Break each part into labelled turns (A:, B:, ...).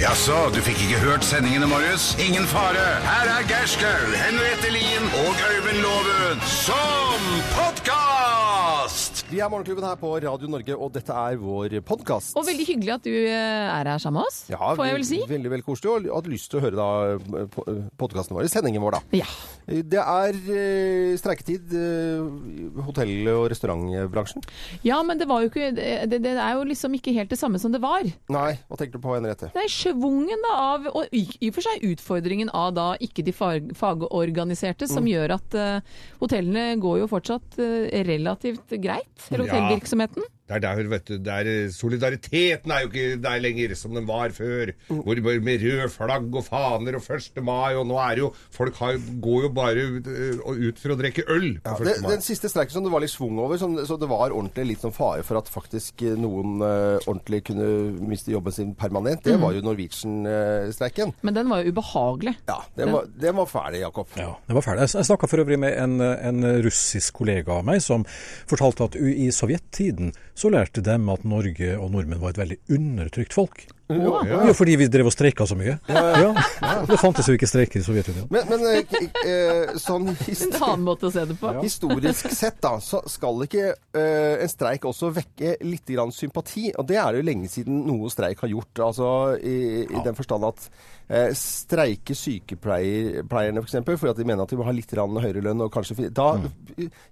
A: Jaså, du fikk ikke hørt sendingene, Marius? Ingen fare. Her er Gerskaug, Henriette Lien og Øyvind Loven som podkast!
B: Vi er Morgenklubben her på Radio Norge, og dette er vår podkast.
C: Og veldig hyggelig at du eh, er her sammen med oss,
B: Ja,
C: får jeg vel si.
B: ve- Veldig veldig koselig, og hadde lyst til å høre da eh, podkasten vår, sendingen vår, da.
C: Ja.
B: Det er eh, streiketid eh, i hotell- og restaurantbransjen.
C: ja, men det, var jo ikke, det, det er jo liksom ikke helt det samme som det var.
B: Nei, hva tenker du på, Henriette?
C: Nei, schwungen da av, og i i og for seg utfordringen av da ikke de fag, fagorganiserte,
D: Mm.
C: som gjør at eh, hotellene går jo fortsatt eh, relativt greit, eller
D: Ja.
C: hotellvirksomheten.
D: Det er der, vet du, der Solidariteten er jo ikke der lenger som den var før. Hvor, hvor med rød flagg og faner og 1. mai, og nå er det jo Folk har, går jo bare ut, øh, ut for å drikke øl på 1.
B: Den,
D: mai.
B: den siste streiken som det var litt svung over, som, så det var ordentlig litt sånn fare for at faktisk eh, noen eh, ordentlig kunne miste jobben sin permanent, det
C: Mm.
B: var jo Norwegian-streiken.
C: Men den var jo ubehagelig.
B: Ja, den var, den var ferdig, Jakob.
E: Ja, det var fælt. Jeg- Jeg snakka for øvrig med en, en russisk kollega av meg som fortalte at u- i sovjettiden så lærte dem at Norge og nordmenn var et veldig undertrykt folk. Jo, fordi vi drev og streika så mye. Ja, Det fantes jo ikke streiker i Sovjetunionen.
B: Men, men eh, k- eh, sånn
C: En
B: historie...
C: annen måte å se det på.
B: Historisk sett da, så skal ikke eh, en streik også vekke litt grann sympati. Og det er det jo lenge siden noe streik har gjort. Altså i, i den forstand at eh, streike sykepleierne f.eks. For fordi at de mener at de må ha litt grann høyere lønn. og kanskje... fi- Da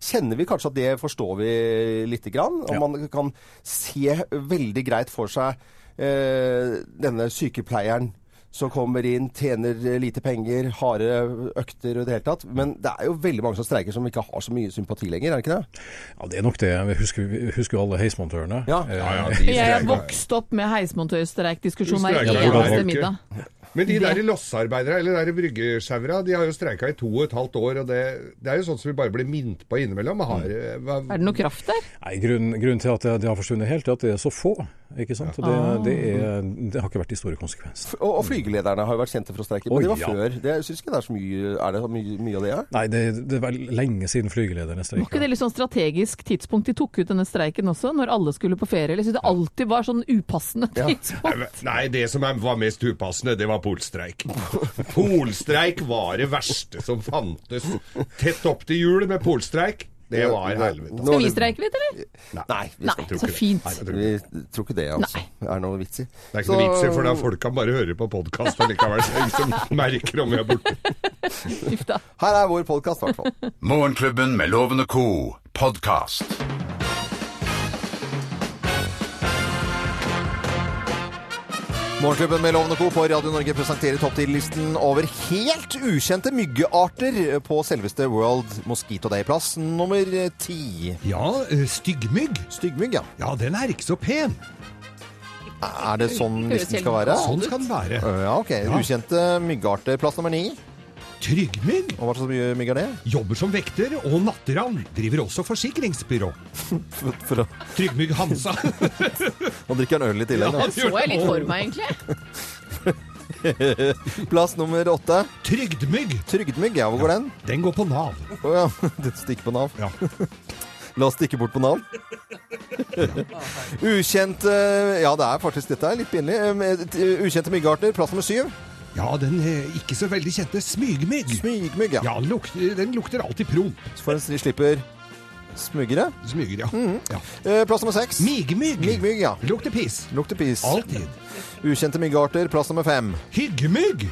B: kjenner vi kanskje at det forstår vi lite grann. Og man kan se veldig greit for seg eh, denne sykepleieren som kommer inn, tjener eh, lite penger, harde økter og det hele tatt. Men det er jo veldig mange som streiker som ikke har så mye sympati lenger, er det ikke det?
E: Ja, Det er nok det. Vi husker, vi husker jo alle heismontørene.
B: Ja.
E: Eh,
D: Ja, ja, de
C: Jeg er
D: streiker.
C: vokst opp med heismontørstreikdiskusjon hver
D: Streiker
E: hver
C: eneste
D: uke.
C: middag.
D: Men de der lossearbeidere, eller der bryggesjauere, de har jo streika i to og et halvt år. Og det, det er jo sånt som vi bare blir minnet på innimellom. Har, eh, hva,
C: Er det noe kraft der?
E: Nei, grunnen, grunnen til at det det har forsvunnet helt, er at det er så få. ikke sant? Og det, det, er, det har ikke vært de store konsekvensene.
B: F- Og, og flygelederne har jo vært kjente for å streike, men
E: Oi,
B: det var
E: ja.
B: før. Det, jeg syns ikke det er så mye Er det så mye, mye av det? her?
E: Nei, det, det var lenge siden flygelederne
C: Var ikke
E: streika.
C: det litt sånn strategisk tidspunkt de tok ut denne streiken også, når alle skulle på ferie? Eller jeg synes det alltid var sånn upassende tidspunkt?
D: Nei, det som er- var mest upassende, det var polstreik. Polstreik var det verste som fantes. Tett opp til jul med polstreik, det var helvete.
C: Skal vi streike litt, eller?
B: Nei, vi,
C: Nei,
D: tror ikke
C: så
D: det.
C: fint.
D: Nei, jeg tror ikke
B: vi
D: det.
B: tror ikke det, altså. Det er noe vits i.
D: Det er ikke noe vits i, for da folk kan bare høre på podkast allikevel. Så ingen som merker om vi er borte.
C: Uff da.
B: Her er vår podkast, i hvert fall.
A: Morgenklubben med Loven og co. podkast.
B: Morgenklubben med Lovende Co. på Radio Norge presenterer topp 10-listen over helt ukjente myggearter på selveste World Mosquito Day, plass nummer ti.
F: Ja, eh, styggmygg.
B: Styggmygg, ja.
F: Ja, den er ikke så pen.
B: Er det sånn
C: Høres
B: listen
C: helt
B: skal være?
F: Sånn skal den være.
B: Ja, ok. Ukjente myggarter. Plass nummer ni.
F: Tryggmygg
B: Og hva slags my- mygg er det?
F: jobber som vekter og natteravn. Driver også forsikringsbyrå.
B: For å,
F: Tryggmygg Hansa.
B: nå drikker han øl i tillegg. da.
C: Så jeg litt for meg, egentlig.
B: Plass nummer åtte.
F: Trygdmygg.
B: Trygdmygg, ja. Hvor går den?
F: Den går på Nav.
B: Å ja, det stikker på navn.
F: Ja.
B: La oss stikke bort på navn. Ukjente Ja, det er faktisk dette er litt pinlig. Um, et- Ukjente myggarter. Plass nummer syv.
F: ja, den eh, ikke så veldig kjente smygmygg.
B: Smygmygg, ja.
F: Ja, den lukter, den lukter alltid promp.
B: Så får en s- slipper smuggere.
F: Smyger, ja. ja.
B: Eh, Plass nummer seks.
F: Migemygg.
B: Migmygg, ja.
F: Lukter piss.
B: Lukter pis.
F: Alltid.
B: Ukjente myggarter. Plass nummer fem.
F: Hyggemygg.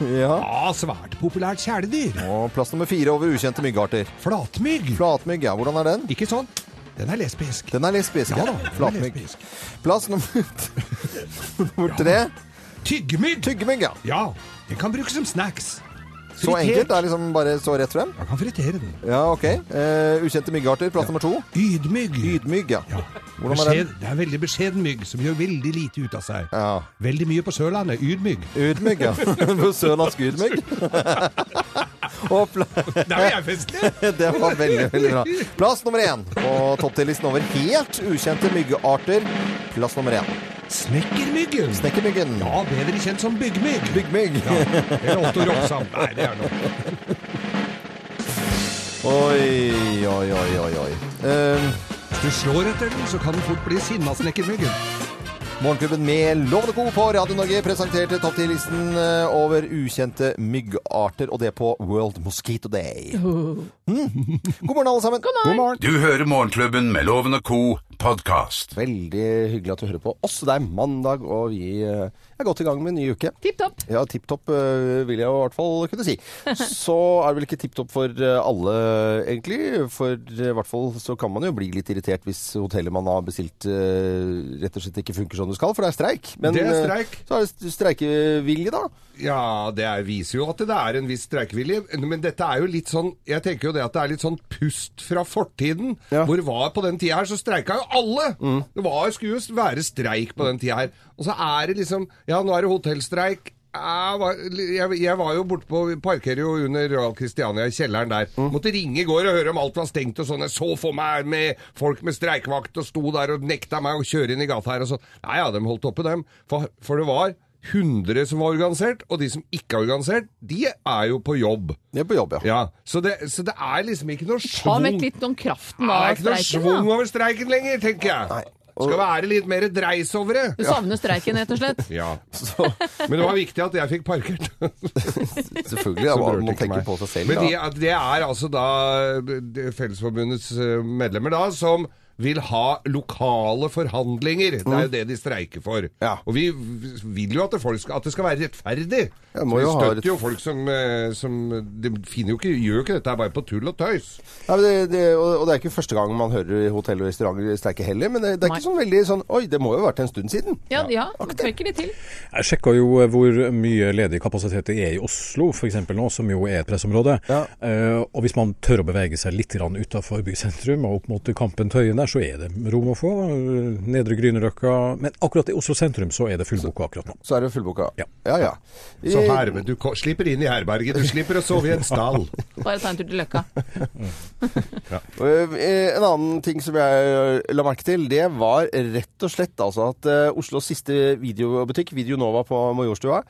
B: Ja.
F: Ja, svært populært kjæledyr.
B: Og plass nummer fire over ukjente myggarter.
F: Flatmygg.
B: Flatmygg, ja. Hvordan er den?
F: Ikke sånn. Den er lesbisk.
B: Den er lesbisk.
F: Ja da, den er
B: Flatmygg.
F: lesbisk.
B: Plass nummer, nummer tre.
F: Tyggemygg.
B: Tyggemygg, ja.
F: Ja, den kan brukes som snacks.
B: Så enkelt. Det er liksom bare så rett frem.
F: Jeg kan fritere den.
B: Ja, OK. Eh, ukjente myggarter. Plass nummer to.
F: Ydmygg.
B: Ydmygg, ja.
F: Ja.
B: Hvordan er den?
F: Beskjed, det er en veldig beskjeden mygg som gjør veldig lite ut av seg.
B: Ja.
F: Veldig mye på Sørlandet. Ydmygg.
B: Ydmygg, ja. Sørlandsk ydmygg. Og pla
F: Der var jeg festlig!
B: det var veldig, veldig bra. Plass nummer én på topp 10-listen over helt ukjente myggarter. Plass nummer én.
F: Snekkermyggen.
B: Snekkermyggen.
F: Ja, bedre kjent som byggmygg.
B: Byggmygg.
F: Ja, eller Otto Ropsam. Nei, det er noe.
B: Oi, oi, oi, oi. oi. Eh,
F: Hvis du slår etter den, så kan den fort bli sinnasnekkermyggen.
G: Morgenklubben med Lovende Co på Radio Norge presenterte topp 10-listen over ukjente myggarter, og det på World Mosquito Day. Mm. God morgen, alle sammen. God morgen.
A: Du hører Morgenklubben med Loven og Co. podkast.
B: Veldig hyggelig at du hører på oss. Det er mandag, og vi eh, er godt i gang med en ny uke.
C: Tipp topp.
B: Ja, tipp topp eh, vil jeg i hvert fall kunne si. Så er det vel ikke tipp topp for eh, alle, egentlig. For eh, i hvert fall så kan man jo bli litt irritert hvis hotellet man har bestilt eh, rett og slett ikke funker som det skal, for det er streik. Men
F: Det er
B: eh,
F: streik.
B: så er det st- streikevilje, da.
F: Ja, det er, viser jo at det er en viss streikevilje. Men dette er jo litt sånn Jeg tenker jo det at det er litt sånn pust fra fortiden.
B: Ja.
F: Hvor var på den tida her, så streika jo alle! Det var, skulle jo være streik på den tida her. Og så er det liksom Ja, nå er det hotellstreik. Jeg var, jeg, jeg var jo borte på Parkerer jo under Royal Christiania i kjelleren der. Måtte ringe i går og høre om alt var stengt og sånn. Jeg så for meg med folk med streikevakt og sto der og nekta meg å kjøre inn i gata her og sånn. Nei ja, de holdt oppe, dem. For, for det var 100 som var organisert, og de som ikke er organisert, de er jo på jobb.
B: Vi er på jobb, ja.
F: Ja, Så det, så det er liksom ikke noe
C: Ta
F: schwung
C: vekk litt om kraften
F: Det
C: av
F: er ikke noe
C: streiken,
F: schwung
C: da.
F: over streiken lenger, tenker jeg. Skal være litt mer dreis over
C: Du
F: det.
C: savner streiken, rett og slett.
F: Ja. Men det var viktig at jeg fikk parkert.
B: Selvfølgelig. Ja,
F: Så berørte
B: man
F: ikke
B: tenker
F: meg.
B: på seg selv.
F: Men
B: da.
F: det, at det er altså da det Fellesforbundets eh, medlemmer da, som vil ha lokale forhandlinger. Det er jo det de streiker for.
B: Mm. Ja.
F: Og vi vil jo at det, folk skal, at det skal være rettferdig.
B: Ja,
F: Så
B: må
F: vi
B: jo ha
F: støtter
B: rett-
F: jo folk som, eh, som De finner jo ikke, gjør jo ikke dette her bare på tull og tøys.
B: Nei, men det, det, og og det er ikke første gang man hører hotell og restauranter streike heller, men det, det er
C: Nei.
B: ikke sånn veldig sånn Oi, det må jo ha vært en stund siden.
C: Ja, ja. Trekker de til.
E: Jeg sjekka jo eh, hvor mye ledig kapasitet det er i Oslo f.eks. nå, som jo er et pressområde.
B: Ja.
E: Eh, og hvis man tør å bevege seg litt utafor bysentrum og opp mot Kampen Tøyen der, så er det rom å få. eh, Nedre Grünerløkka. Men akkurat i Oslo sentrum så er det fullboka akkurat nå.
B: Så er det fullboka.
E: Ja.
B: ja. ja.
F: Så herme, du ko- slipper inn i herberget. Du slipper å sove i en stall.
C: Bare ta en tur til Løkka.
B: Eh, eh, En annen ting som jeg eh, la merke til, det var rett og slett altså at eh, Oslos siste videobutikk, Videonova på Majorstua,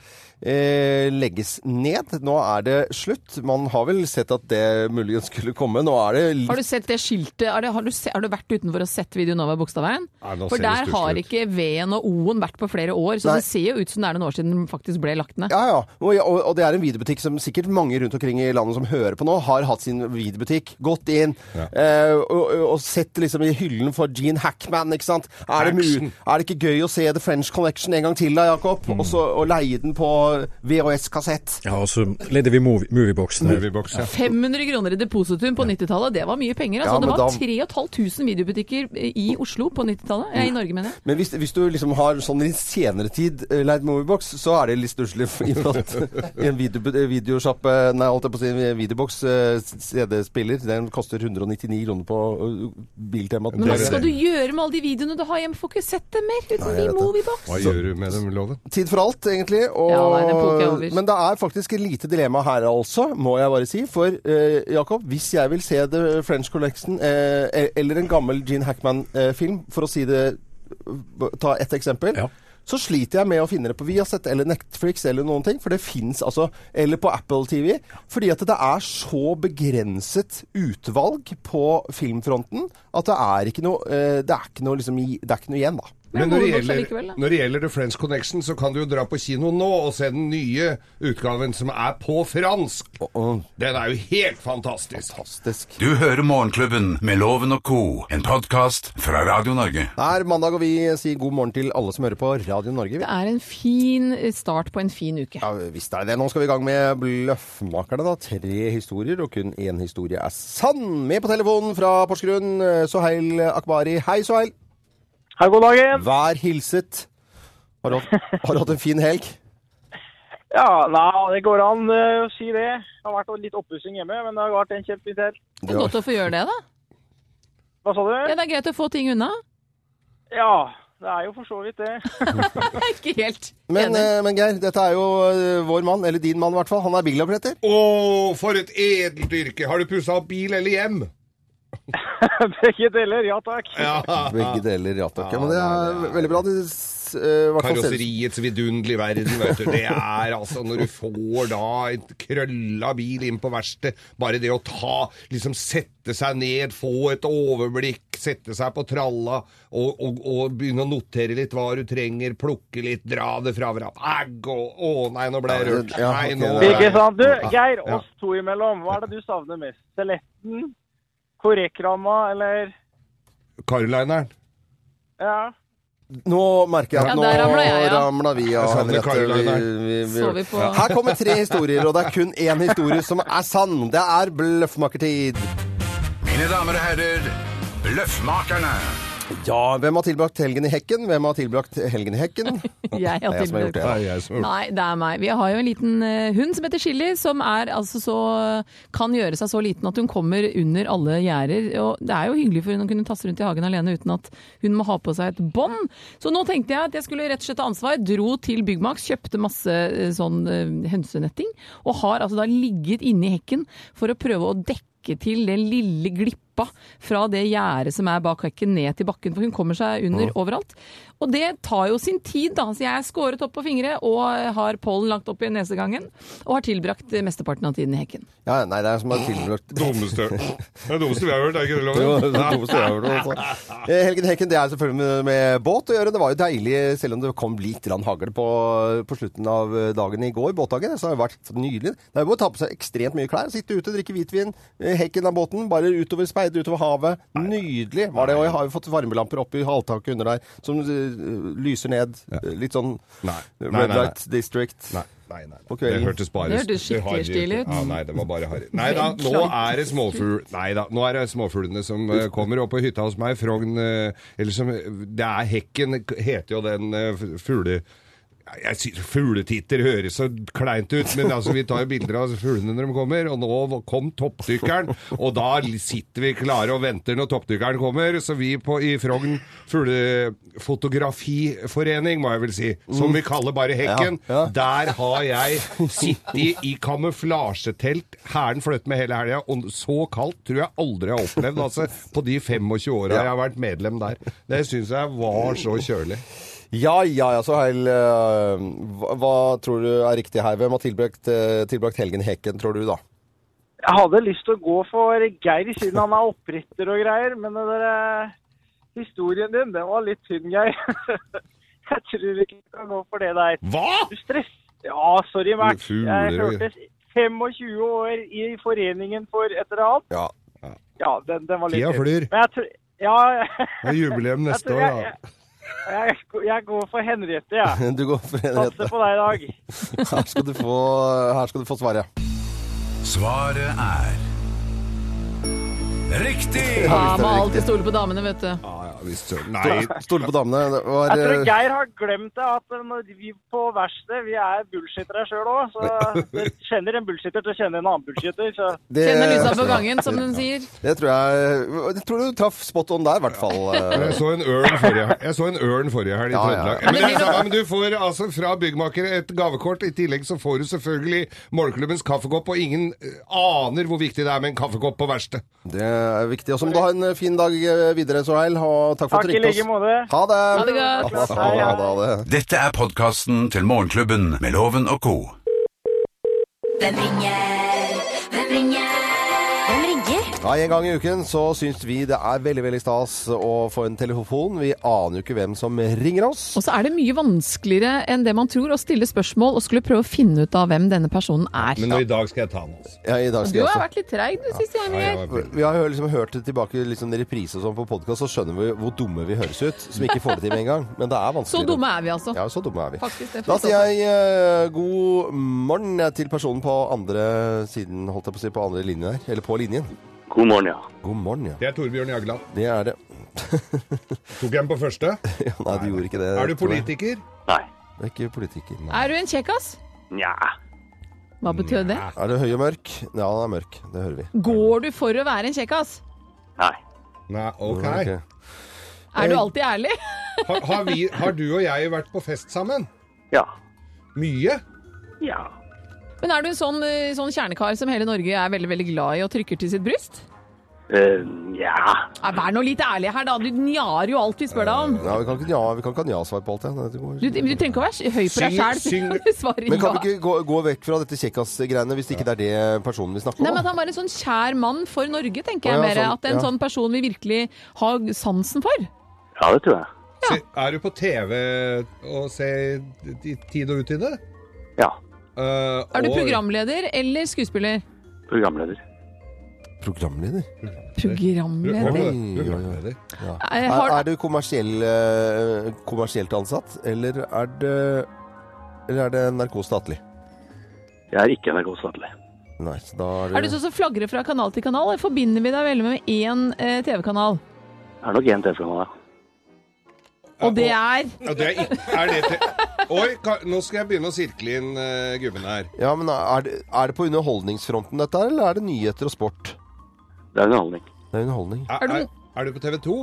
B: eh, legges ned. Nå er det slutt. Man har vel sett at det muligens skulle komme. Nå er det litt
C: Har du sett det skiltet? Er det, har, du se, har du vært utenfor og sett videoen over Bogstadveien?
F: Nei, nå
C: For
F: ser det
C: der
F: stusslig
C: har
F: ut.
C: ikke V-en og O-en vært på flere år, så
B: Nei.
C: det ser jo ut som det er noen år siden den faktisk ble lagt ned.
B: Ja, ja. Og, og, og det er en videobutikk som sikkert mange rundt omkring i landet som hører på nå, har hatt sin videobutikk, gått inn eh, og, og- og sett liksom i hyllen for Gene Hackman, ikke sant. Er det, mu-
F: Action.
B: er det ikke gøy å se The French Connection en gang til da, Jakob?
F: Mm.
B: Og så og leie den på VHS-kassett.
E: Ja, og så leder vi movie, Movieboxen her.
F: Moviebox, ja.
C: 500 kroner i depositum på 90-tallet, det var mye penger.
B: Ja,
C: Altså,
B: men
C: det
B: da-
C: var 3500 videobutikker i Oslo på 90-tallet.
B: Mm.
C: Eh, I Norge, mener jeg.
B: Men hvis, hvis du liksom har sånn i senere tid eh, leid Moviebox, så er det litt stusslig. for- i og med at En video, eh, videosjappe Nei, holdt jeg på å si en videobox eh, CD-spiller. Den koster 199 kroner på eh, Biltema.
C: Men hva
F: Det er
C: skal
F: det.
C: du gjøre med alle de videoene du har hjemme? Får ikke sett dem mer uten
B: Nei, jeg
C: de
B: vet det.
C: moviebox.
F: Hva gjør du med dem, Loven?
B: Tid for alt, egentlig. Og,
C: Ja, nei, den plukker jeg over.
B: men det er faktisk et lite dilemma her altså, må jeg bare si. For eh, Jakob, hvis jeg vil se The French Collection eh, e- eller en gammel Gene Hackman-film, for å si det Ta ett eksempel.
E: Ja.
B: Så sliter jeg med å finne det på Viaset eller Netflix eller noen ting, for det fins altså Eller på Apple TV. Fordi at det er så begrenset utvalg på filmfronten at det er ikke noe, eh, det er ikke noe, liksom, i- det er ikke noe igjen, da.
C: Men
F: Men når det,
C: Moviebox
F: gjelder,
C: allikevel, da.
F: når det gjelder The French Connection, så kan du jo dra på kino nå og se den nye utgaven som er på fransk. Den er jo helt fantastisk.
B: Fantastisk.
A: Du hører Morgenklubben med Loven og Co., en podkast fra Radio Norge.
B: Det er mandag, og vi sier god morgen til alle som hører på Radio Norge.
C: Det er en fin start på en fin uke.
B: Ja, visst er det det. Nå skal vi i gang med Bløffmakerne, da. Tre historier, og kun én historie er sann. Med på telefonen fra Porsgrunn, eh, Soheil Akbari. Hei, Soheil.
H: Hei, god dagen.
B: Vær hilset. Har du, hatt- har du hatt en fin helg?
H: Ja, nei, det går an eh, å si det. Det har vært litt oppussing hjemme, men det har vært en kjempefin helg.
C: Det er godt å få gjøre det, da.
H: Hva sa
C: Ja,
H: du?
C: det er greit å få ting unna.
H: Ja, det er jo for så vidt det.
C: Jeg er ikke helt
B: Men,
C: enig.
B: eh, men Geir, dette er jo eh, vår mann, eller din mann i hvert fall. Han er biloppdretter.
F: Å, for et edelt yrke! Har du pussa opp bil eller hjem?
H: Begge deler, ja takk.
F: Ja.
B: Begge deler, ja takk. Ja, men det
F: nei,
B: er veldig bra. Det, s- eh, i hvert fall ser det ut-
F: Karosseriets vidunderlige verden, vet du. Det er altså når du får da en krølla bil inn på verkstedet, bare det å ta Liksom sette seg ned, få et overblikk,
D: sette seg på tralla og, og, og begynne å notere litt hva du trenger, plukke litt, dra det fra hverandre. Ægg og Å nei, nå ble jeg rørt.
B: Ja,
D: Nei,
B: ok,
D: nå
B: det er-
D: ble
H: Ikke
D: jeg-
H: sant? Du, Geir,
D: Ja.
H: oss to imellom, hva er det du savner mest? Skjeletten? Korrekramma, eller
D: Carolineren.
H: Ja.
B: Nå merker jeg at
C: Ja,
B: nå
C: der ramla jeg, ja.
B: ramla vi av.
D: Jeg savner
B: Henriette.
D: Caroline
B: Vi- vi-
C: Så vi på-
B: Her kommer tre historier, og det er kun én historie som er sann. Det er bløffmakertid.
A: Mine damer og herrer, Løffmakerne.
B: Ja, hvem har tilbrakt helgen i hekken? Hvem har tilbrakt helgen i hekken?
C: Jeg har
B: Det er jeg som har gjort
C: tilbudt.
B: det.
D: jeg som
C: Nei, det er meg. Vi har jo en liten eh, hund som heter Chili, som er altså så kan gjøre seg så liten at hun kommer under alle gjerder. Og det er jo hyggelig for hun å kunne tasse rundt i hagen alene uten at hun må ha på seg et bånd. Så nå tenkte jeg at jeg skulle rett og slett ta ansvar. Dro til Byggmax, kjøpte masse eh, sånn eh, hønsenetting, og har altså da ligget inne i hekken for å prøve å dekke til den lille glippa fra det gjerdet som er bak hekken ned til bakken, for hun kommer seg under overalt. Og det tar jo sin tid, da. Så jeg er skåret opp på fingre og har pollen langt opp i nesegangen. Og har tilbrakt eh, mesteparten av tiden i hekken.
B: Ja, nei, det er jeg som har tilbrakt
D: Dummeste. Det er det dummeste vi har hørt, er ikke det
B: Jo,
D: Loven?
B: det er det dummeste jeg har hørt, altså. Eh, Helgen Hekken, det er selvfølgelig med, med båt å gjøre. Det var jo deilig, selv om det kom litt grann hagl på, på slutten av eh, dagen i går, båtdagen. Så har det vært nydelig. Det er jo bare å ta på seg ekstremt mye klær, sitte ute, drikke hvitvin, eh, hekken av båten, bare utover speide utover havet. Nydelig var det. Og jeg har jo fått varmelamper opp i halvtaket under der, som eh, lyser ned. eh, Litt sånn
D: Nei. Nei, nei,
B: Red
D: nei.
B: Light District.
D: Nei, nei, nei.
B: På
D: Det
B: kvelden.
D: hørtes bare
C: Det hørtes skikkelig
D: harry
C: stilig ut.
D: Ja, nei, det var bare harry. Nei da, nå er det småfugl... Nei da, nå er det småfuglene som eh, kommer opp på hytta hos meg. Frogn eh, Eller som Det er hekken, k- heter jo den eh, f- fugle... Ja, Jeg sier Fugletitter høres så kleint ut, men altså, vi tar jo bilder av fuglene når de kommer. Og nå kom toppdykkeren, og da sitter vi klare og venter når toppdykkeren kommer. Så vi på, i Frogn fuglefotografiforening, må jeg vel si, som vi kaller bare Hekken,
B: Ja, ja.
D: der har jeg sittet i kamuflasjetelt, hæren fløtt med hele helga, og så kaldt tror jeg aldri jeg har opplevd, altså, på de 25 åra jeg har vært medlem der. Det syns jeg var så kjølig.
B: Ja, ja, ja, så Heil. eh, Hva, hva tror du er riktig her? Hvem har tilbrakt, eh, tilbrakt helgen i hekken, tror du, da?
H: Jeg hadde lyst til å gå for Geir, siden han er oppretter og greier, men den der eh, historien din, den var litt tynn, Geir. Jeg tror ikke du kan gå for det der.
D: Hva?!
H: Du stress... Ja, sorry, Mac.
D: Fugler,
H: Jeg
D: Geir.
H: hørtes 25 år i foreningen for et eller annet.
B: Ja.
H: Ja, den, den var litt
D: Tida
H: tynn.
D: flyr.
H: Men jeg tror... Ja,
D: Det er jubileum
H: jeg,
D: neste
H: tror
D: år,
H: jeg,
D: da.
H: jeg, jeg går for Henriette, jeg.
B: Du går for Henriette.
H: Satser på deg i dag.
B: Her skal du få, her skal du få svaret.
A: Svaret er Riktig!
B: visst er det
C: Ja, må
B: riktig. Eh,
C: alltid stole på damene, vet du.
D: Ja, ja, visst søren. Nei.
B: Stole på damene. Det var,
H: Jeg tror
B: eh,
H: Geir har glemt det, at når vi på verkstedet vi er bullshittere sjøl òg. Så du kjenner en bullshitter til å kjenne en annen bullshitter. Så
B: det,
C: Kjenner lysa på gangen, som den sier.
B: det tror jeg Jeg tror du traff spot on der, i hvert fall. eh.
D: Jeg så en ørn forrige, jeg så en ørn forrige helg i
B: Ja, ja, ja.
D: Trøndelag.
C: Ja,
D: Men,
C: men
D: det er
C: vi-
D: samme, men du får altså fra byggmaker et gavekort. I tillegg så får du selvfølgelig morgenklubbens kaffekopp, og ingen eh, aner hvor viktig det er med en kaffekopp på verkstedet.
B: Det er viktig. Og så må du ha en fin dag eh, videre, Soheil. Og takk for at
H: takk
B: du
H: i
B: ringte
H: like
B: oss.
H: måte.
B: Ha det!
C: Ha det godt.
B: Ha det, ha det, ha det, ha det.
A: Dette er podkasten til Morgenklubben med Loven og co.
I: Hvem ringer? Hvem ringer? Hvem ringer?
B: Ja, En gang i uken så syns vi det er veldig veldig stas å få en telefon. Vi aner jo ikke hvem som ringer oss.
C: Og så er det mye vanskeligere enn det man tror å stille spørsmål og skulle prøve å finne ut av hvem denne personen er.
D: Men i dag skal jeg ta den, altså.
B: Ja, i dag
C: Du
B: skal jeg
C: har
B: også.
C: vært litt treig du siste gangen.
D: Ja,
C: Geir.
D: jeg var
B: Vi har jo liksom hørt det tilbake liksom i reprise og sånn på podkast, så skjønner vi hvor dumme vi høres ut. Som ikke får det til med en gang. Men det er vanskelig.
C: Så dumme er vi altså.
B: Ja, så dumme er vi.
C: Faktisk, det får
B: Da
C: vi
B: sier jeg eh, god morgen eh, til personen på andre siden, holdt jeg på å si, på andre linjen her. Eller på linjen.
J: God morgen, ja.
B: God morgen, ja.
D: Det er Torbjørn Jagland.
B: Det er det.
D: Tok jeg den på første?
B: Ja, nei, du gjorde ikke det.
D: Er du
B: tror jeg.
D: politiker?
J: Nei.
B: Det er ikke politiker.
C: Er du en kjekkas?
J: Nja.
C: Hva betød det?
B: Er du høy og mørk? Ja, han er mørk. Det hører vi.
C: Går du for å være en kjekkas?
J: Nei.
D: Nei, ok.
B: Ok.
C: Er du alltid ærlig?
D: Har, har, vi, har du og jeg vært på fest sammen?
J: Ja.
D: Mye?
J: Ja.
C: Men er du en sånn, eh, sånn kjernekar som hele Norge er veldig veldig glad i og trykker til sitt bryst?
H: Eh, ja
C: Nei, Vær nå litt ærlig her, da. Du njarer jo alt vi spør deg om.
B: Ja, vi kan ikke ja, vi kan ikke ha ja-svar på alt, ja. Det går-
C: Du, du trenger ikke å være høy på deg
B: Syng-
C: sjæl.
B: syng- Men kan vi
C: Nei,
B: ikke gå, gå vekk fra dette kjekkas-greiene hvis ikke det er det personen vi snakker
C: men
B: om?
C: at Han var en sånn kjær mann for Norge, tenker jeg
B: Å, ja,
C: mer.
B: sånn,
C: At en
B: ja.
C: sånn person vi virkelig har sansen for.
H: Ja, det tror jeg.
D: Se, Er du på TV og ser i tid og utide? Eh,
H: Ja.
C: Er du programleder eller skuespiller?
H: Programleder.
B: Programleder?
C: Programleder.
B: Programleder. Ja.
C: Eh, har-
B: Er, er du kommersiell, eh, kommersielt ansatt, eller er det, eller er det NRK statlig?
H: Jeg er ikke NRK statlig.
B: Nei, så da er det,
C: Er du sånn som flagrer fra kanal til kanal? eller Forbinder vi deg veldig med én eh, TV-kanal?
H: Det er nok én TV-kanal, ja.
C: Og det er
D: Ja, det er, ikke- er det te- Oi, ka- nå skal jeg begynne å sirkle inn eh, gubben her.
B: Ja, men er det, er det på underholdningsfronten dette her, eller er det nyheter og sport?
H: Det er underholdning.
B: Det er underholdning.
D: Er, er, er du på TV 2?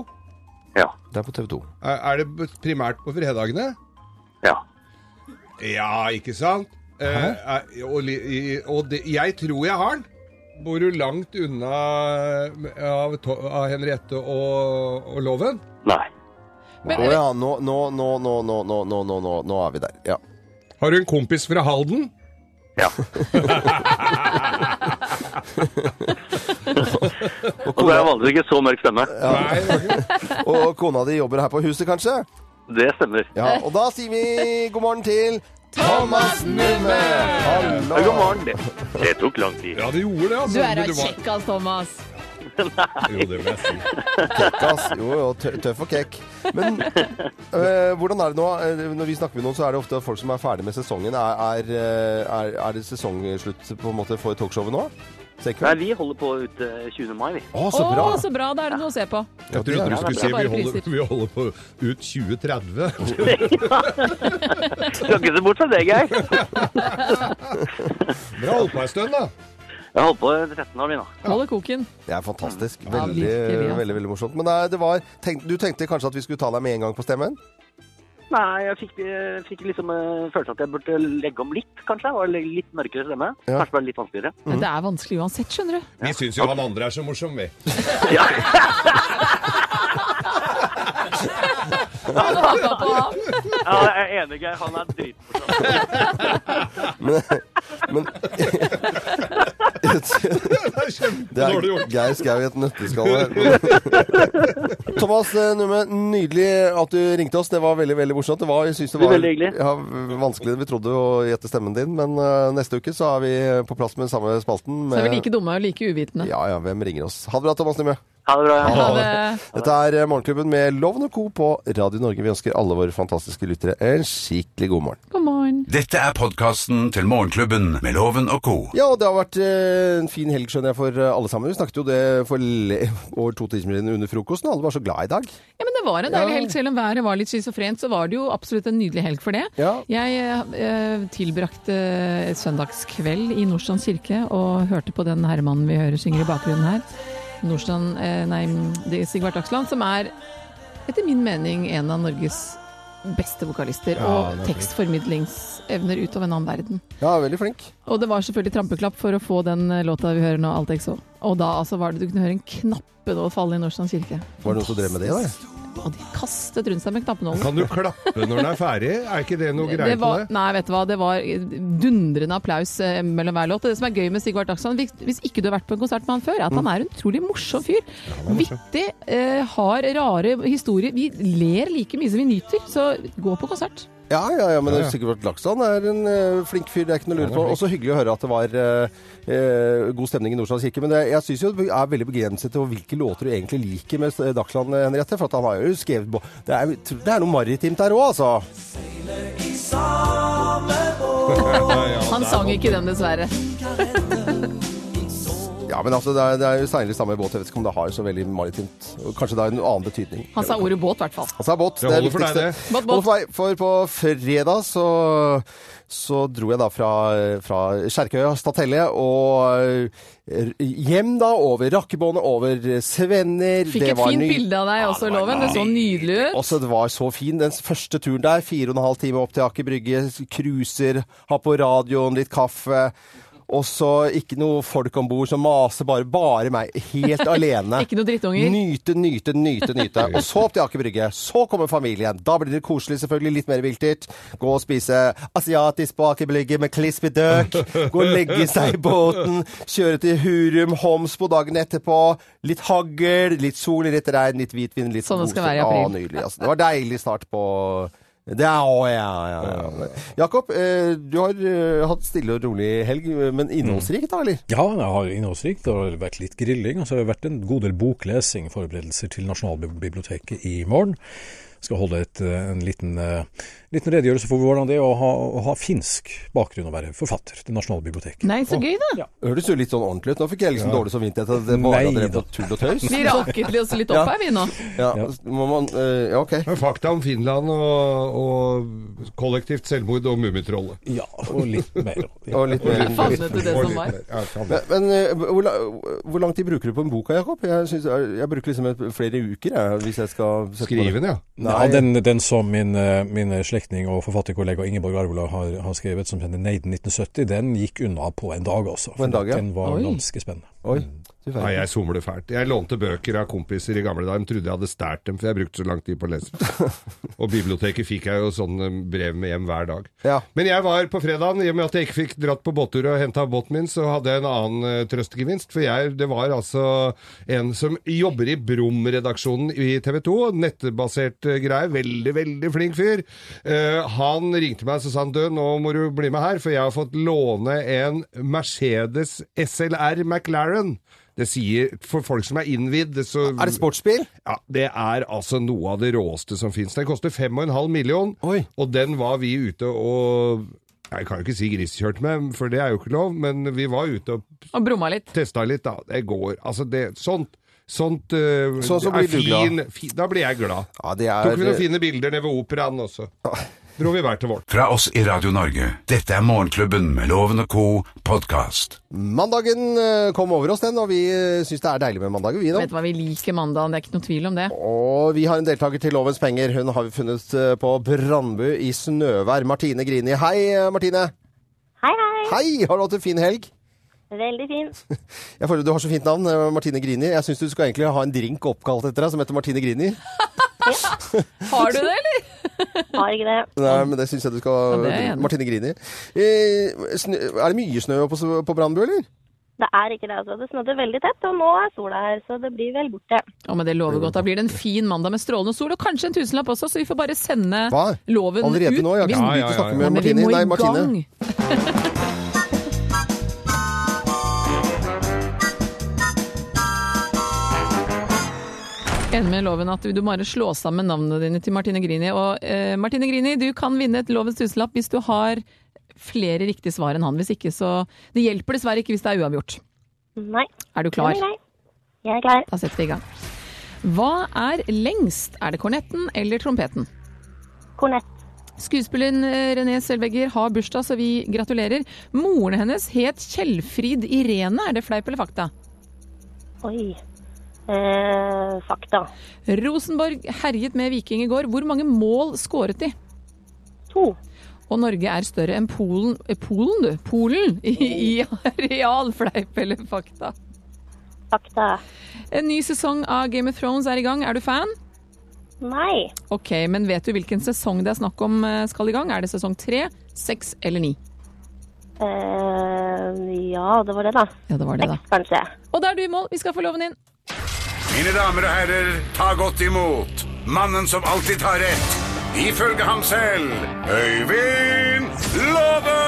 B: Det er på TV 2.
D: Er, er det b- primært på fredagene?
H: Ja.
D: Ja, ikke sant? Eh, er- og li- i- og det, jeg tror jeg har den. Bor du langt unna eh, av, to- av Henriette og, og Loven?
H: Nei.
B: Å ja, nå, nå, nå, nå, nå, nå, nå, nå, nå, nå er vi der. Ja.
D: Har du en kompis fra Halden?
H: Ja. Og det er vanligvis ikke så mørk stemme.
B: Og kona di jobber her på huset, kanskje?
H: Det stemmer.
B: Ja, og da sier vi god morgen til Thomas Numme! Hallo!
H: Ja, God morgen. Det, det tok lang tid.
D: Ja, det gjorde det, altså.
C: Du er ei kjekkas, Thomas.
D: Jo, det vil jeg si.
B: Kekkas. Jo, jo, tø- tøff og kekk. Men øh, hvordan er det nå? Eh, Når vi snakker med noen, så er det ofte folk som er ferdig med sesongen. Er, er, eh, er, er det sesongslutt på en måte for talkshowet nå?
H: Nei,
B: Sekveld?
H: vi holder på ut eh, 20. mai, vi.
B: Å,
C: Å,
B: så bra!
C: så bra. Da er det noe å se på.
D: Jeg trodde du skulle si
C: Bare
D: vi holder,
C: priser.
D: vi holder på ut 2030.
H: Skal ikke se bort fra det, Geir. Jeg
D: Dere har holdt på en stund, da.
H: har holdt på i 13 år, vi nå.
C: Holder koken.
B: Det er fantastisk.
C: Ja,
B: Veldig,
C: virkelig, altså.
B: veldig, veldig morsomt. Men nei, det var, tenk, du tenkte kanskje at vi skulle ta deg med en gang på stemmen?
H: Nei, jeg fikk, jeg fikk liksom eh, følelsen at jeg burde legge om litt, kanskje. Og legge litt mørkere stemme.
B: Ja.
H: Kanskje bare litt vanskeligere.
C: Men det er vanskelig uansett, skjønner du.
D: Vi syns jo han andre er så morsom, vi.
H: Ja.
C: Han har pakka på ham.
H: ja, jeg er enig, Geir. Han er dritmorsom.
B: Men
D: Det er
B: Det er
D: kjempedårlig gjort.
B: Geir Skau i et nøtteskalle. Thomas eh, Numme, nydelig at du ringte oss. Det var veldig veldig morsomt. Det var, jeg synes det
H: Det
B: var
H: er veldig hyggelig.
B: ja, vanskelig vi trodde å gjette stemmen din, men eh, neste uke så er vi på plass med samme spalten.
C: Så er vi
B: Med,
C: like dumme og like uvitende.
B: ja, ja, hvem ringer oss? Ha det bra, Thomas Numme.
H: Ha det bra.
C: Ha det.
B: Dette er eh, Morgenklubben med Loven og Co. på Radio Norge. Vi ønsker alle våre fantastiske lyttere en skikkelig god morgen.
C: God morgen.
A: Dette er podkasten til Morgenklubben med Loven og co.
B: Ja, og det har vært eh, en fin helg, skjønner jeg, for eh, alle sammen. Vi snakket jo det for le over to timer siden under frokosten. Alle var så glad i dag.
C: Ja, men det var en deilig helg. Selv om været var litt schizofrent, så var det jo absolutt en nydelig helg for det.
B: Ja.
C: Jeg eh, tilbrakte søndagskveld i Nordstrand kirke og hørte på den herremannen vi hører synger i bakgrunnen her. Nordstrand, eh, nei, det er Sigvart Aksland, som er etter min mening en av Norges beste vokalister og tekstformidlingsevner ut av en annen verden.
B: Ja, veldig flink.
C: Og det var selvfølgelig trampeklapp for å få den eh, låta vi hører nå, Alt Exo. Og da altså var det du kunne høre en knappenål falle i Nordstrand kirke.
B: Var det noen som drev med det, eller?
C: Og de kastet rundt seg med knappenålen.
D: Kan du klappe når den er ferdig? Er ikke det noe
C: Det
D: greit
C: var,
D: med det?
C: nei, vet du hva, det var dundrende applaus eh, mellom hver låt. Og Det som er gøy med Sigvart Dagsson, hvis, hvis ikke du har vært på en konsert med han før, er at han er en utrolig morsom fyr. Vittig, eh, har rare historier. Vi ler like mye som vi nyter, så gå på konsert.
B: Ja, ja, ja, men det
D: Ja,
B: er
D: ja.
B: sikkert Laksand er en eh, flink fyr, det er ikke noe å lure på. Og så hyggelig å høre at det var eh, eh, god stemning i Nordstrand kirke. Men det, jeg syns jo det er veldig begrenset til hvilke låter du egentlig liker med eh, Dagsland, Henriette. For at han har jo skrevet på Det er, det er noe maritimt der òg, altså.
C: Han sang ikke den, dessverre.
B: Ja, men altså, det er, det er jo seiler i samme båt. Jeg vet ikke om det har så veldig maritimt. Og Kanskje det har en annen betydning.
C: Han sa ordet båt, i hvert fall.
B: Han sa båt.
D: Det
B: Altså, Det er
D: holder for deg,
B: viktigste.
D: det.
C: Båt, båt.
B: Holder for meg, for på fredag så, så dro jeg da fra, fra Kjerkøya, Statelle, og eh, hjem da over Rakkebåndet, over Svenner.
C: Fikk et fint bilde av deg også, Loven. Det så nydelig ut.
B: Også, det var så fin. Den første turen der, fire og en halv time opp til Aker Brygge, cruiser, ha på radioen, litt kaffe. Og så ikke noe folk om bord som maser, bare, bare meg. Helt alene.
C: Ikke noe drittunger.
B: Nyte, nyte, nyte, nyte. Og så opp til Aker Brygge. Så kommer familien. Da blir det koselig, selvfølgelig. Litt mer viltdyrt. Gå og spise asiatisk på Aker Brygge med kliss i døk. Gå og legge seg i båten. Kjøre til Hurum, Homsbo dagen etterpå. Litt hagl, litt sol, litt regn, litt hvitvin, litt
C: Sånn det skal være i
B: Å,
C: april.
B: nydelig. Altså. Det var deilig start på det er, å, ja, ja, ja. Jakob, eh, du har eh, hatt stille og rolig helg, men innholdsrik, da, eller?
E: Ja, det har innholdsrikt. Det har vært litt grilling. og så har det vært en god del boklesing, forberedelser til Nasjonalbiblioteket i morgen. Skal holde et, eh, en liten, eh, liten redegjørelse for hvordan det er å ha, å ha finsk bakgrunn og være forfatter til Nasjonalbiblioteket.
C: Nei, så gøy, da.
B: Høres jo litt sånn ordentlig ut. Nå fikk jeg liksom dårlig samvittighet at det bare
E: Nei
B: hadde drevet
E: da.
B: på tull og tøys.
C: Vi raket oss litt opp her, vi nå.
B: Ja, må man, eh, ja, ok.
D: Men fakta om Finland og, og kollektivt selvmord og Mummitrollet.
E: Ja, og litt mer. Ja.
B: Og litt mer.
C: Jeg fant ut det som var.
D: Ja, kan det.
B: Men, men eh, hvor, la- hvor lang tid bruker du på en boka, Jakob? Jeg, synes, jeg bruker liksom et, flere uker, jeg, hvis jeg skal sette på
D: Skriven, ja.
E: Ja, den, den som min, eh, min slektning og forfatterkollega Ingeborg Arvola har, har skrevet, som heter Neiden 1970, den gikk unna på en dag, altså.
B: På en dag, ja.
E: Den var
C: Oi.
E: ganske spennende.
B: Oi, du
D: Nei,
B: verden.
D: jeg somler fælt. Jeg lånte bøker av kompiser i gamle dager. De trodde jeg hadde stjålet dem, for jeg brukte så lang tid på å lese. Og biblioteket fikk jeg jo sånne brev med hjem hver dag.
B: Ja.
D: Men jeg var på fredagen, i og med at jeg ikke fikk dratt på båttur og henta båten min, så hadde jeg en annen eh, trøstgevinst. For jeg, det var altså en som jobber i Brum-redaksjonen i TV 2, nettbasert eh, greie, veldig, veldig flink fyr. Eh, han ringte meg og sa han, du, nå må du bli med her, for jeg har fått låne en Mercedes SLR McLaren. Det sier, for folk som er innvidd så,
B: Er det sportsbil?
D: ja, det er altså noe av det råeste som finnes. Den koster 5,5 million,
B: Oi.
D: og den var vi ute og Jeg kan jo ikke si griskjørt med, for det er jo ikke lov, men vi var ute og
C: Og brumma litt.
D: testa litt, da. Det går. Altså, det Sånt. Sånt eh,
B: Så- så
D: er
B: blir du glad.
D: fi- da blir jeg glad.
B: Ja, det
D: Tok vi noen
B: er
D: fine bilder nede ved operaen også. Dro vi hver til vårt.
A: Fra oss i Radio Norge. Dette er Morgenklubben med Loven og co. podkast.
B: Mandagen eh, kom over oss, den, og vi eh, syns det er deilig med mandager, vi nå.
C: Vet du hva, vi liker mandagen, det er ikke noe tvil om det.
B: Og vi har en deltaker til Lovens penger. Hun har vi funnet eh, på Brandbu i Snøvær. Martine Grini. Hei, eh, Martine.
K: Hei, hei.
B: Hei! Har du hatt en fin helg?
K: Veldig fin.
B: Jeg føler du har så fint navn, eh, Martine Grini. Jeg syns du skal egentlig ha en drink oppkalt etter deg som heter Martine Grini.
C: Har du det, eller?
K: Har ikke det.
B: Nei, men det syns jeg du skal
C: Ja, det er jeg enig i.
B: Martine Grini. Eh, snø- Er det mye snø på, s- på Brandbu, eller?
K: Det er ikke det. altså. Det snødde veldig tett, og nå er sola her, så det blir vel borte.
C: Ja, men Det lover godt. Da blir det en fin mandag med strålende sol, og kanskje en tusenlapp også, så vi får bare sende
B: Hva?
C: loven
B: Allerede
C: ut.
B: nå? Jeg har
C: Vi-
B: ikke
D: Ja,
B: begynt
D: ja,
B: å
D: ja,
B: snakke
D: ja.
B: med
C: Men vi
B: Martine.
C: må
B: Nei,
C: i
B: Martine.
C: gang. Enig med loven at du må bare slå sammen navnene dine til Martine Grini. Og eh, Martine Grini, du kan vinne et lovens tusenlapp hvis du har flere riktige svar enn han. Hvis ikke, så Det hjelper dessverre ikke hvis det er uavgjort.
K: Nei.
C: Er du
K: den
C: klar?
K: er grei. Jeg er klar.
C: Da setter vi i gang. Hva er lengst? Er det kornetten eller trompeten?
K: Kornett.
C: Skuespilleren eh, René Selvegger har bursdag, så vi gratulerer. Moren hennes het Kjellfrid Irene. Er det fleip eller fakta?
K: Oi. Eh, fakta.
C: Rosenborg herjet med Viking i går. Hvor mange mål skåret de?
K: To.
C: Og Norge er større enn Polen eh, Polen, du? Polen i, i areal. Fleip eller fakta?
K: Fakta.
C: En ny sesong av Game of Thrones er i gang. Er du fan?
K: Nei.
C: Ok, men vet du hvilken sesong det er snakk om eh, skal i gang? Er det sesong tre, seks eller ni?
K: Eh, ja, det var det, da.
C: Ja, det var det, da.
K: Seks, kanskje.
C: Og da er du i mål. Vi skal få loven inn.
A: Mine damer og herrer, ta godt imot mannen som alltid tar rett, ifølge ham selv, Øyvind Låve!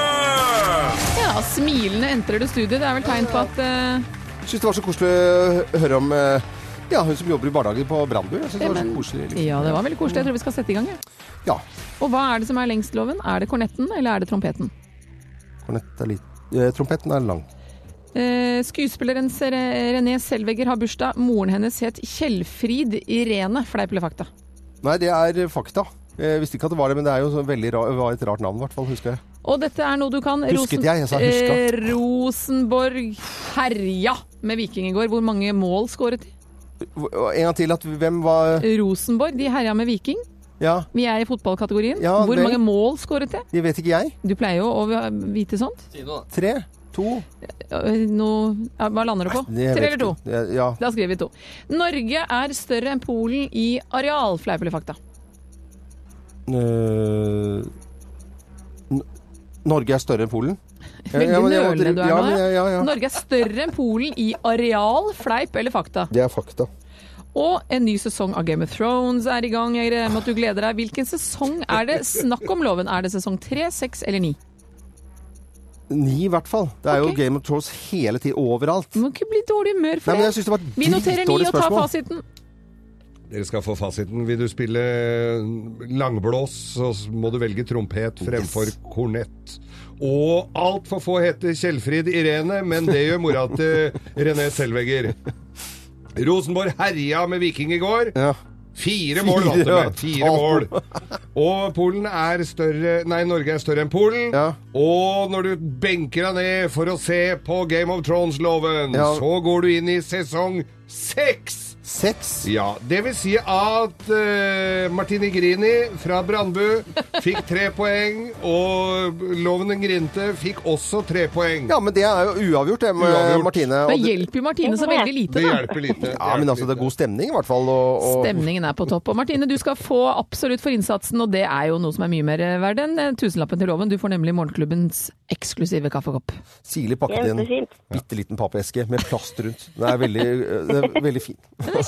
C: Ja, smilende entrer det studio. Det er vel tegn på at eh,
B: Syns det var så koselig å høre om eh, ja, hun som jobber i barnehagen på Brandbu. Jeg synes det var så
C: men-
B: koselig. Liksom.
C: Ja, det var veldig koselig. Jeg tror vi skal sette i gang, jeg.
B: Ja.
C: Og hva er det som er lengst, loven? Er det kornetten, eller er det trompeten?
B: Kornett er litt eh, Trompeten er lang.
C: Eh, skuespilleren Ser- René Selvegger har bursdag. Moren hennes het Kjellfrid Irene. Fleip eller fakta?
B: Nei, det er eh, fakta. Jeg visste ikke at det var det, men det er jo så veldig ra det var et rart navn, i hvert fall. Husker jeg.
C: Og dette er noe du kan.
B: Husket jeg, jeg sa huska.
C: eh, Rosenborg herja med Viking i går. Hvor mange mål skåret de?
B: Og En gang til at hvem var
C: Rosenborg de herja med Viking.
B: Ja,
C: Vi er i fotballkategorien.
B: Ja,
C: Hvor
B: vel.
C: mange mål skåret de?
B: det vet ikke jeg.
C: Du pleier jo å vite sånt.
B: Tre? To?
C: Nå, ja, hva lander du på?
B: Nei, jeg
C: Tre
B: vet
C: eller to?
B: ikke. Ja.
C: Da skriver vi to. Norge er større enn Polen i areal, fleip eller fakta.
B: Øh, N- Norge er større enn Polen?
C: Veldig
B: men jeg måtte-
C: nølende du er
B: ja,
C: nå.
B: men
C: ja.
B: jeg- ja, ja.
C: Norge er større enn Polen i areal, fleip eller fakta.
B: Det er fakta.
C: Og en ny sesong av Game of Thrones er i gang. Jeg regner med at du gleder deg. Hvilken sesong er det snakk om, Loven? Er det sesong tre, seks eller ni?
B: Ni i hvert fall. Det er
C: Ok.
B: jo Game of Thrones hele tiden, overalt.
C: Du må ikke bli i dårlig humør
B: Nei,
C: for
B: men jeg
C: det.
B: synes det var et
C: Vi noterer ni
B: dritdårlig
C: og tar
B: spørsmål.
C: fasiten.
D: Dere skal få fasiten. Vil du spille langblås, så må du velge trompet fremfor kornett. Og altfor få heter Kjellfrid Irene, men det gjør mora til René Selvegger. Rosenborg herja med Viking i går.
B: Ja.
D: Fire mål vant de med. Fire mål. Og Polen er større Nei, Norge er større enn Polen.
B: Ja.
D: Og når du benker deg ned for å se på Game of Thrones-loven,
B: Ja.
D: så går du inn i sesong seks!
B: Seks?
D: Ja, det vil si at eh, Martine Grini fra Brandbu fikk tre poeng, og Loven den Grinte fikk også tre poeng.
B: Ja, men det er jo uavgjort, det, med
D: Uavgjort.
B: Martine. og
C: Det
B: det-
C: hjelper jo Martine så veldig lite,
D: Det
C: da.
D: hjelper lite.
B: ja, men altså, det er god stemning, i hvert fall. Og, og...
C: Stemningen er på topp. Og Martine, du skal få absolutt for innsatsen, og det er jo noe som er mye mer verdt enn eh, tusenlappen til loven. Du får nemlig Morgenklubbens eksklusive kaffekopp.
B: Sili pakket inn en
K: Kjempefint.
B: bitte liten pappeske med plast rundt. Den er veldig, det er veldig fin.
C: Den er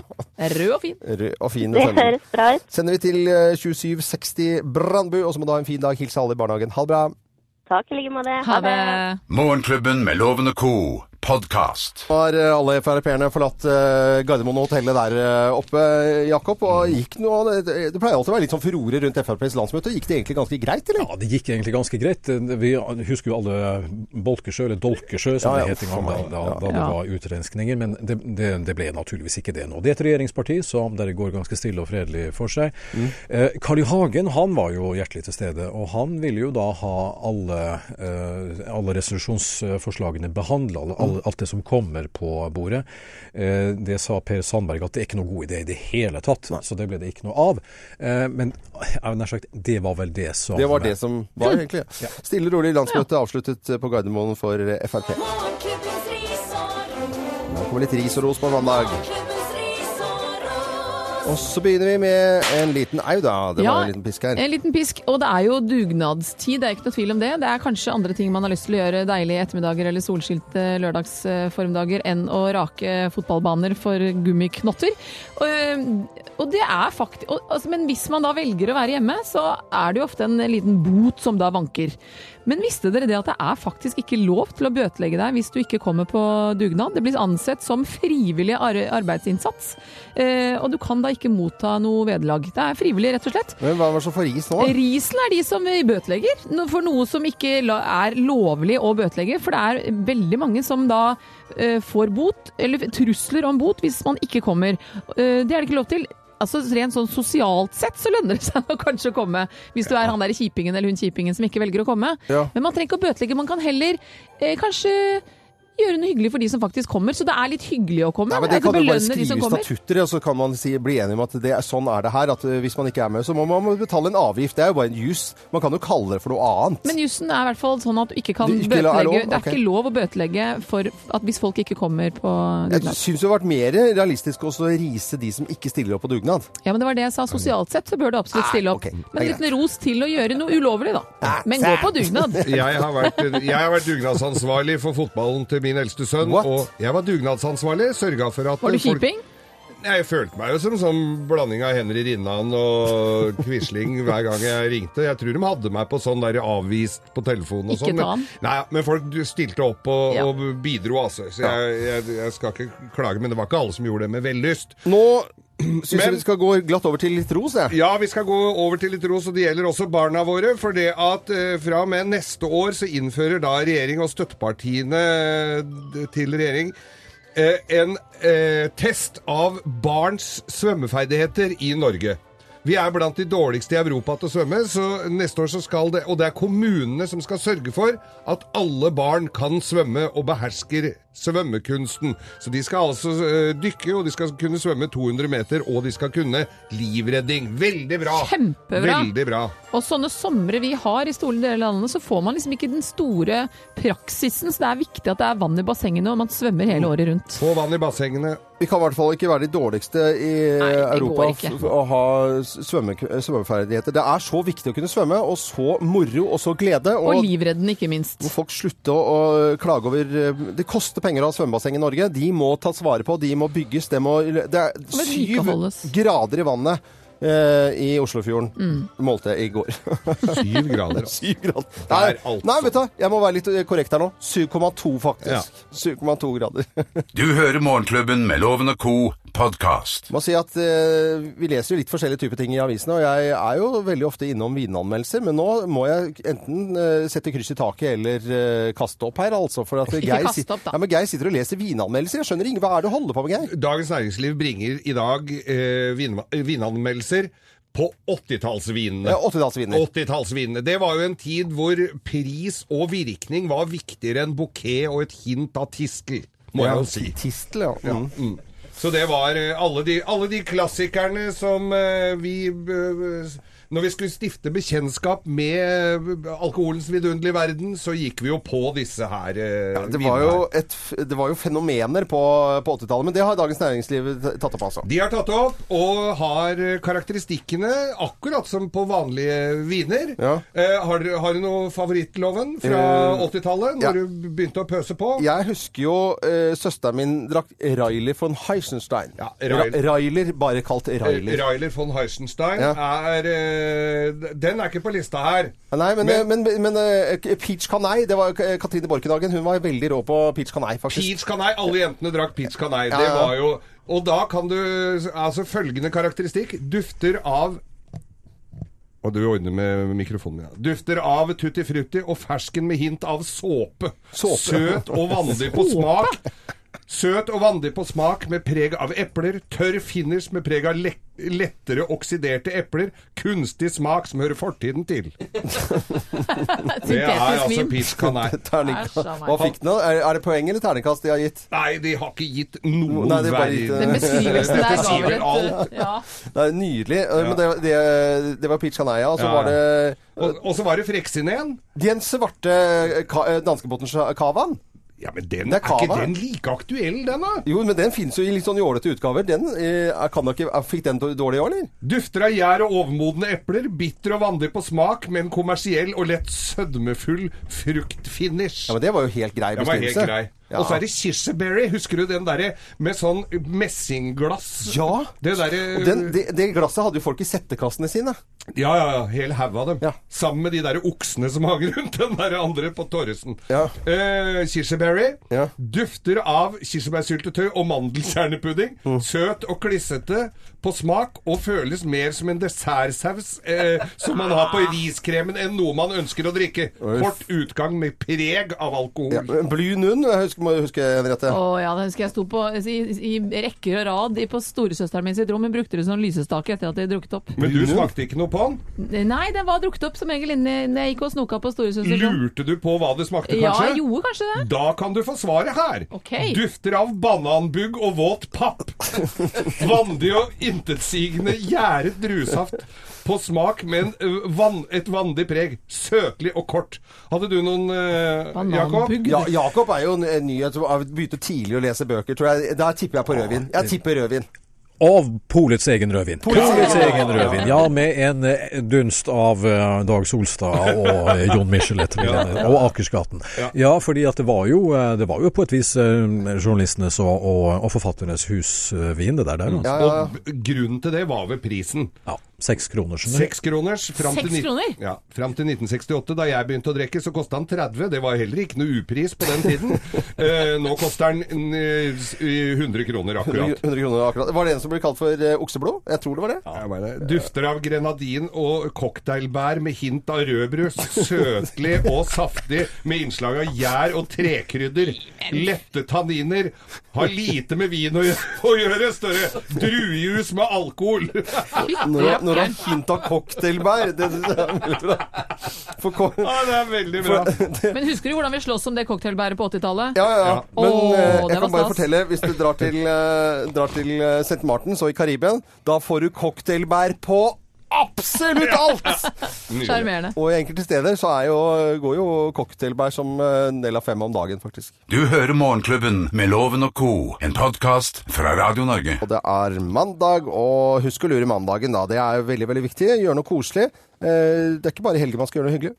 C: Den er Rød og fin.
B: Rød og fin.
K: Det
B: sender.
K: høres bra ut.
B: Sender vi til eh, 2760 Brandbu, og så må du ha en fin dag. Hils alle i barnehagen. Ha det bra.
K: Takk i like måte.
C: Ha det.
A: Morgenklubben med Loven og Co. podkast.
B: Nå har eh, alle Frp-erne forlatt eh, Gardermoen og hotellet der eh, oppe, Jakob. Og gikk noe, det, det pleier alltid å være litt sånn furore rundt FrPs landsmøte. Gikk det egentlig ganske greit, eller?
E: Ja, det gikk egentlig ganske greit. Vi husker jo alle Bolkesjø, eller Dolkesjø som
B: Ja, ja,
E: det het en gang da,
B: for meg.
E: da,
B: Ja.
E: da det
C: Ja.
E: var utrenskninger. Men det, det, det ble naturligvis ikke det nå. Det er et regjeringsparti som der går ganske stille og fredelig for seg.
B: Mm.
E: Eh, Carl I. Hagen han var jo hjertelig til stede, og han ville jo da ha alle, eh, alle resolusjonsforslagene behandla,
B: Mm.
E: alle, alt det som kommer på bordet. Eh, det sa Per Sandberg at det er ikke noe god idé i det hele tatt, så det ble det ikke noe av. Eh, men jeg har nær sagt, det var vel det som
B: Det var det som var, egentlig. Stille og rolig landsmøte avsluttet eh, på Gardermoen for eh, Frp.
I: Morgenklubbens ris og ros.
B: Nå kommer litt ris og ros på mandag.
I: Morgenklubbens ris og ros.
B: Og så begynner vi med en liten au, da. Det var en liten pisk her.
C: en liten pisk. Og det er jo dugnadstid, det er ikke noe tvil om det. Det er kanskje andre ting man har lyst til å gjøre deilige ettermiddager eller solskilte lørdagsformdager enn å rake fotballbaner for gummiknotter. Og, eh, og det er faktisk og, altså, Men hvis man da velger å være hjemme, så er det jo ofte en liten bot som da vanker. Men visste dere det at det er faktisk ikke lov til å bøtelegge deg hvis du ikke kommer på dugnad? Det blir ansett som frivillig ar arbeidsinnsats, eh, og du kan da ikke motta noe vederlag. Det er frivillig, rett og slett.
B: Men hva var det som får ris nå?
C: Risen er de som bøtelegger no- for noe som ikke la- er lovlig å bøtelegge. For det er veldig mange som da eh, får bot, eller trusler om bot, hvis man ikke kommer. Eh, det er det ikke lov til. Altså Rent sånn sosialt sett så lønner det seg å kanskje å komme, hvis du er han der kjipingen eller hun kjipingen som ikke velger å komme.
B: Ja.
C: Men man trenger ikke å bøtelegge, man kan heller eh, kanskje gjøre noe hyggelig for de som faktisk kommer. Så det er litt hyggelig å komme.
B: Nei, men Det
C: Altså,
B: kan du bare
C: belønne de
B: skrive
C: som
B: i
C: kommer.
B: statutter, og så kan man si, bli enig om at det er, sånn er det her. At eh, hvis man ikke er med, så må man betale en avgift. Det er jo bare en jus. Man kan jo kalle det for noe annet.
C: Men jussen er i hvert fall sånn at du ikke kan
B: Du ikke la- er
C: bøtelegge
B: lov?
C: Det er
B: Ok.
C: ikke lov å bøtelegge for at hvis folk ikke kommer på
B: jeg
C: dugnad.
B: syns det har vært mer realistisk også å rise de som ikke stiller opp på dugnad.
C: Ja, men det var det jeg sa. Sosialt sett så bør du absolutt stille opp.
B: Ah, ok, Ah, det er
C: Men en liten ros til å gjøre noe ulovlig, da. Men gå
B: sæ.
C: på dugnad.
D: Jeg har, vært, jeg har vært dugnadsansvarlig for fotballen til min eldste sønn.
B: What?
D: Og jeg var dugnadsansvarlig. Sørga for at
C: Var du
D: folk-
C: kjiping?
D: Nei, Jeg følte meg jo som sånn blanding av Henry Rinnan og Quisling hver gang jeg ringte. Jeg tror de hadde meg på sånn der avvist på telefonen og
C: Ikke
D: sånn.
C: ta han.
D: Men, nei, men folk stilte opp og,
C: Ja.
D: og bidro, altså. Så jeg, jeg, jeg skal ikke klage, men det var ikke alle som gjorde det med vellyst.
B: Nå syns
D: Men-
B: jeg vi skal gå glatt over til litt ros, jeg.
D: Ja, vi skal gå over til litt ros, og det gjelder også barna våre. For det at eh, fra og med neste år så innfører da regjering og støttepartiene eh, til regjering eh, en eh, test av barns svømmeferdigheter i Norge. Vi er blant de dårligste i Europa til å svømme, så neste år så skal det Og det er kommunene som skal sørge for at alle barn kan svømme og behersker svømmekunsten. Så de skal altså eh, dykke, og de skal kunne svømme 200 meter, og de skal kunne livredding. Veldig bra!
C: Kjempebra.
D: Veldig bra.
C: Og sånne somre vi har i store deler av landet, så får man liksom ikke den store praksisen. Så det er viktig at det er vann i bassengene, og man svømmer hele året rundt.
D: Få vann i bassengene.
B: Vi kan i hvert fall ikke være de dårligste i eh,
C: Nei, det går
B: Europa
C: ikke.
B: f- å ha svømme, svømmeferdigheter. Det er så viktig å kunne svømme, og så moro, og så glede.
C: Og livredden, ikke minst.
B: må folk slutte å, å klage over eh, Det koster penger å ha svømmebasseng i Norge. De må tas vare på, de må bygges. Det, må, det er
C: må
B: syv
C: vedlikeholdes.
B: grader i vannet eh, i Oslofjorden.
C: Mm.
B: Målte jeg i går.
D: Syv grader. altså.
B: syv grader. Nei,
D: Det er alt
B: nei,
D: som-
B: vet du, jeg må være litt eh, korrekt her nå. 7,2 faktisk. 7,2 grader.
A: Du hører Morgenklubben med Loven og Co. podkast.
B: må si at eh, Vi leser jo litt forskjellige typer ting i avisene, og jeg er jo veldig ofte innom vinanmeldelser. Men nå må jeg enten eh, sette kryss i taket eller eh, kaste opp her, altså. For at
C: Ikke
B: Geir,
C: kaste
B: sit-
C: opp, da.
B: Ja, men Geir sitter og leser vinanmeldelser. Jeg skjønner ikke hva er det du holder på med, Geir?
D: Dagens Næringsliv bringer i dag eh, vin, vinanmeldelser på 80-tallsvinene.
B: Ja, 80-tallsviner.
D: 80-tallsvinene. Det var jo en tid hvor pris og virkning var viktigere enn bukett og et hint av tiskel, må jeg jo si.
B: Tistel, ja. Mm.
D: Mm. Så det var eh, alle de, alle de klassikerne som eh, vi eh, Når vi skulle stifte bekjennskap med eh, alkoholens vidunderlige verden, så gikk vi jo på disse her. eh,
B: Ja, det,
D: vinene
B: var
D: her.
B: jo et, f- det var jo fenomener på, på 80-tallet, men det har Dagens Næringsliv t- tatt opp, altså.
D: De har tatt opp og har karakteristikkene akkurat som på vanlige viner.
B: Ja.
D: Eh, har, dere- har du noe favorittloven fra
B: Eh,
D: 80-tallet, når
B: ja.
D: du begynte å pøse på?
B: Jeg husker jo eh, søsteren min drakk Railer von Heisenstein.
D: Ja, Railer.
B: Ra- Railer, bare kalt Railer.
D: Eh, Reiler von Heisenstein
B: Ja.
D: er eh, Den er ikke på lista her.
B: Ja, Nei, men,
D: Men-
B: men, men, eh, Peach Canai, det var jo K- Katrine Borchdagen. Hun var veldig rå på Peach Canai, faktisk.
D: Peach Canai. Alle jentene drakk Peach Canai.
B: Ja,
D: Det
B: ja.
D: var jo Og da kan du Altså, følgende karakteristikk. Dufter av og du ordner med mikrofonen min. ja. Dufter av tutti frutti og fersken med hint av såpe.
B: Såpe.
D: Søt og vanlig på smak. Søt og vanlig på smak med preg av epler. Tørr finish med preg av lek- lettere oksiderte epler. Kunstig smak som hører fortiden til. Det er
C: Syntetisk
D: altså
C: vin.
D: Peach Canai.
B: Terningkast.
C: Æsj, a meg.
B: Hva fikk den? da? Er, er det poeng eller terningkast de har gitt?
D: Nei, de har ikke gitt noen
B: Nei, det er bare
D: verden.
B: litt, eh,
C: Den beskrivelsen der
D: Dette
C: ga
D: sier
C: vel
D: vel alt.
C: et ja.
B: Det er nydelig. Eh, Men det, det, det var Peach Canai, ja. Og så
D: Ja,
B: var det eh,
D: Og, og så var det Freksineen.
B: den svarte eh, ka- eh, danskebotnens cavaen.
D: Ja, men den
B: Det
D: er,
B: er
D: ikke
B: kava.
D: den like aktuell, den da?
B: Jo, men den fins jo i litt sånn jålete utgaver. Den, eh, er- kan da ikke, er- fikk den dårlig i år, eller?
D: Dufter av gjær og overmodne epler, bitter og vanlig på smak, med en kommersiell og lett sødmefull fruktfinish.
B: Ja, men det var jo helt grei
D: den var helt
B: beskrivelse.
D: grei.
B: Ja.
D: Og så er det Kirseberry. Husker du den derre med sånn messingglass?
B: Ja.
D: Det derre
B: Og den, det, det glasset hadde jo folk i settekassene sine.
D: Ja, ja, ja. Hel haug av dem.
B: Ja.
D: Sammen med de der oksene som hang rundt den der andre på Torresen.
B: Ja.
D: Eh, kirsebærry.
B: Ja.
D: Dufter av kirsebærsyltetøy og mandelkjernepudding.
B: Mm.
D: Søt og klissete på smak og føles mer som en dessertsaus eh, som man har på riskremen enn noe man ønsker å drikke. Kort utgang med preg av alkohol.
B: Ja, men Blue Noon, jeg husker, må jeg huske, Henriette.
C: Å ja, da husker jeg sto på, altså, i, i rekker og rad i- på storesøsteren min sitt rom. Hun brukte det som lysestake etter at de hadde drukket opp.
D: Men
B: Mm.
D: du smakte ikke noe på den?
C: Nei, den var drukket opp som regel inne når jeg gikk og snoka på storesøsteren.
D: Lurte du på hva det smakte,
C: Altså, Ja,
D: kanskje?
C: jeg gjorde kanskje det.
D: Da kan du få svaret her.
C: Ok.
D: Dufter av bananbugg og våt papp. Vandig og intetsigende gjæret druesaft. På smak med en, ø, vann, et vanlig preg. Søtlig og kort. Hadde du noen, ø, Jakob?
C: Bananbugg.
B: Ja, Jakob er jo en en nyhet som har begynt tidlig å lese bøker, tror jeg. Der tipper jeg på rødvin. Jeg tipper rødvin.
E: Av polets egen rødvin. Polets egen rødvin, Ja, med en eh, dunst av eh, Dag Solstad og eh, Jon Michelet vil jeg nevne, og Akersgaten. Ja, fordi at det var jo, eh, det var jo på et vis eh, journalistenes og, og, og forfatternes husvin, det der. der altså.
D: Og b- grunnen til det var ved prisen.
E: Ja, Seks kroner, skjønner du.
D: Seks kroners. Fram til,
C: Seks
D: nit-
C: kroner?
D: Ja, fram til 1968, da jeg begynte å drikke, så kosta han 30. Det var heller ikke noe upris på den tiden. Eh, nå koster den eh, s- 100 kroner
B: 100
D: akkurat.
B: 100 kroner akkurat. Var det en som ble kalt for eh, okseblod? Jeg eh, tror det var det.
D: Ja, jeg mener det. Dufter av grenadin og cocktailbær med hint av rødbrus. Søtlig og saftig med innslag av gjær og trekrydder. Lette tanniner. Har lite med vin å gjøre, å gjøre Støre. Druejus med alkohol.
B: Når han- Når han hinta cocktailbær det, det er veldig bra. For, ko-
D: Ja, det er veldig bra.
B: for det,
C: Men husker du hvordan vi sloss om det cocktailbæret på 80-tallet?
B: ja, ja, ja. Men
C: Åh,
B: eh,
C: det
B: jeg
C: var
B: kan bare
C: stas.
B: fortelle, hvis du drar til, eh, drar til eh, St. Martins og i Karibien, da får du cocktailbær på absolutt alt!
C: Sjarmerende.
B: Og i enkelte steder så er jo, går jo cocktailbær som eh, en del av fem om dagen, faktisk.
A: Du hører Morgenklubben med Loven og Co., en podkast fra Radio Norge.
B: Og det er mandag, og husk å lure mandagen, da. Det er jo veldig, veldig viktig. Gjør noe koselig. Eh, Det er ikke bare i helgen man skal gjøre noe hyggelig.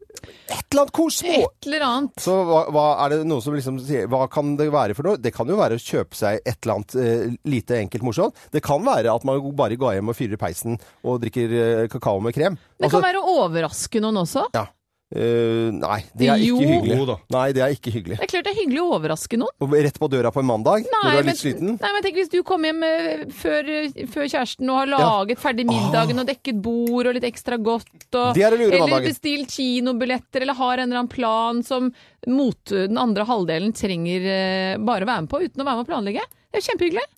B: Et eller annet koselig!
C: Et eller annet.
B: Så hva, hva er det noe som liksom sier Hva kan det være for noe? Det kan jo være å kjøpe seg et eller annet eh, lite enkelt morsomt. Det kan være at man bare går hjem og fyrer i peisen og drikker eh, kakao med krem.
C: Det
B: Altså,
C: kan være å overraske noen også.
B: Ja. Eh, nei, det er
C: Jo.
B: ikke hyggelig.
D: Jo da.
B: Nei, det er ikke hyggelig.
C: Det er klart det er hyggelig å overraske noen.
B: Og Rett på døra på en mandag når du er
C: men,
B: litt sliten.
C: nei, men tenk hvis du kommer hjem eh, før, eh, før kjæresten og har laget ferdig middagen og dekket bord og litt ekstra godt. Og,
B: Det er å lure
C: eller
B: mandagen.
C: bestilt kinobilletter eller har en eller annen plan som mot den andre halvdelen trenger eh, bare å være med på uten å være med å planlegge. Det er jo kjempehyggelig.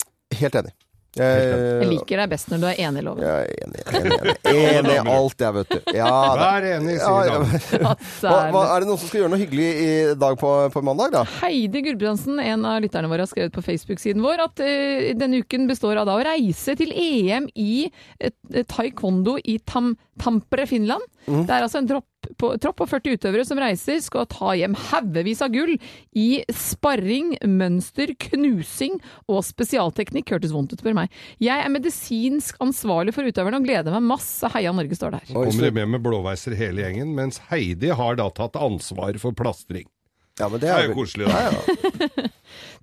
B: Helt enig. Eh,
C: Jeg liker deg best når du er enig, Loven.
B: jeg er enig, enig, enig, enig i alt, jeg, vet du. Ja, da.
D: Vær enig,
B: Ja,
D: sier
B: ja.
D: damen.
B: Hva, hva,
C: Altså,
B: er det noen som skal gjøre noe hyggelig i dag på, på mandag, da?
C: Heidi Gulbrandsen, en av lytterne våre, har skrevet på Facebook-siden vår at eh, denne uken består av da å reise til EM i eh, taekwondo i Tam Tampere, Finland. Det er altså en tropp på, tropp på 40 utøvere som reiser, skal ta hjem haugevis av gull i sparring, mønster, knusing og spesialteknikk. Hørtes vondt ut, spør meg. Jeg er medisinsk ansvarlig for utøverne og gleder meg masse. Heia Norge står der.
B: Oi,
D: Kommer
B: så-
D: de med med blåveiser hele gjengen, mens Heidi har da tatt ansvar for plastring.
B: Ja, men det
D: Det
B: er
D: er jo
B: vel-
D: koselig. Da.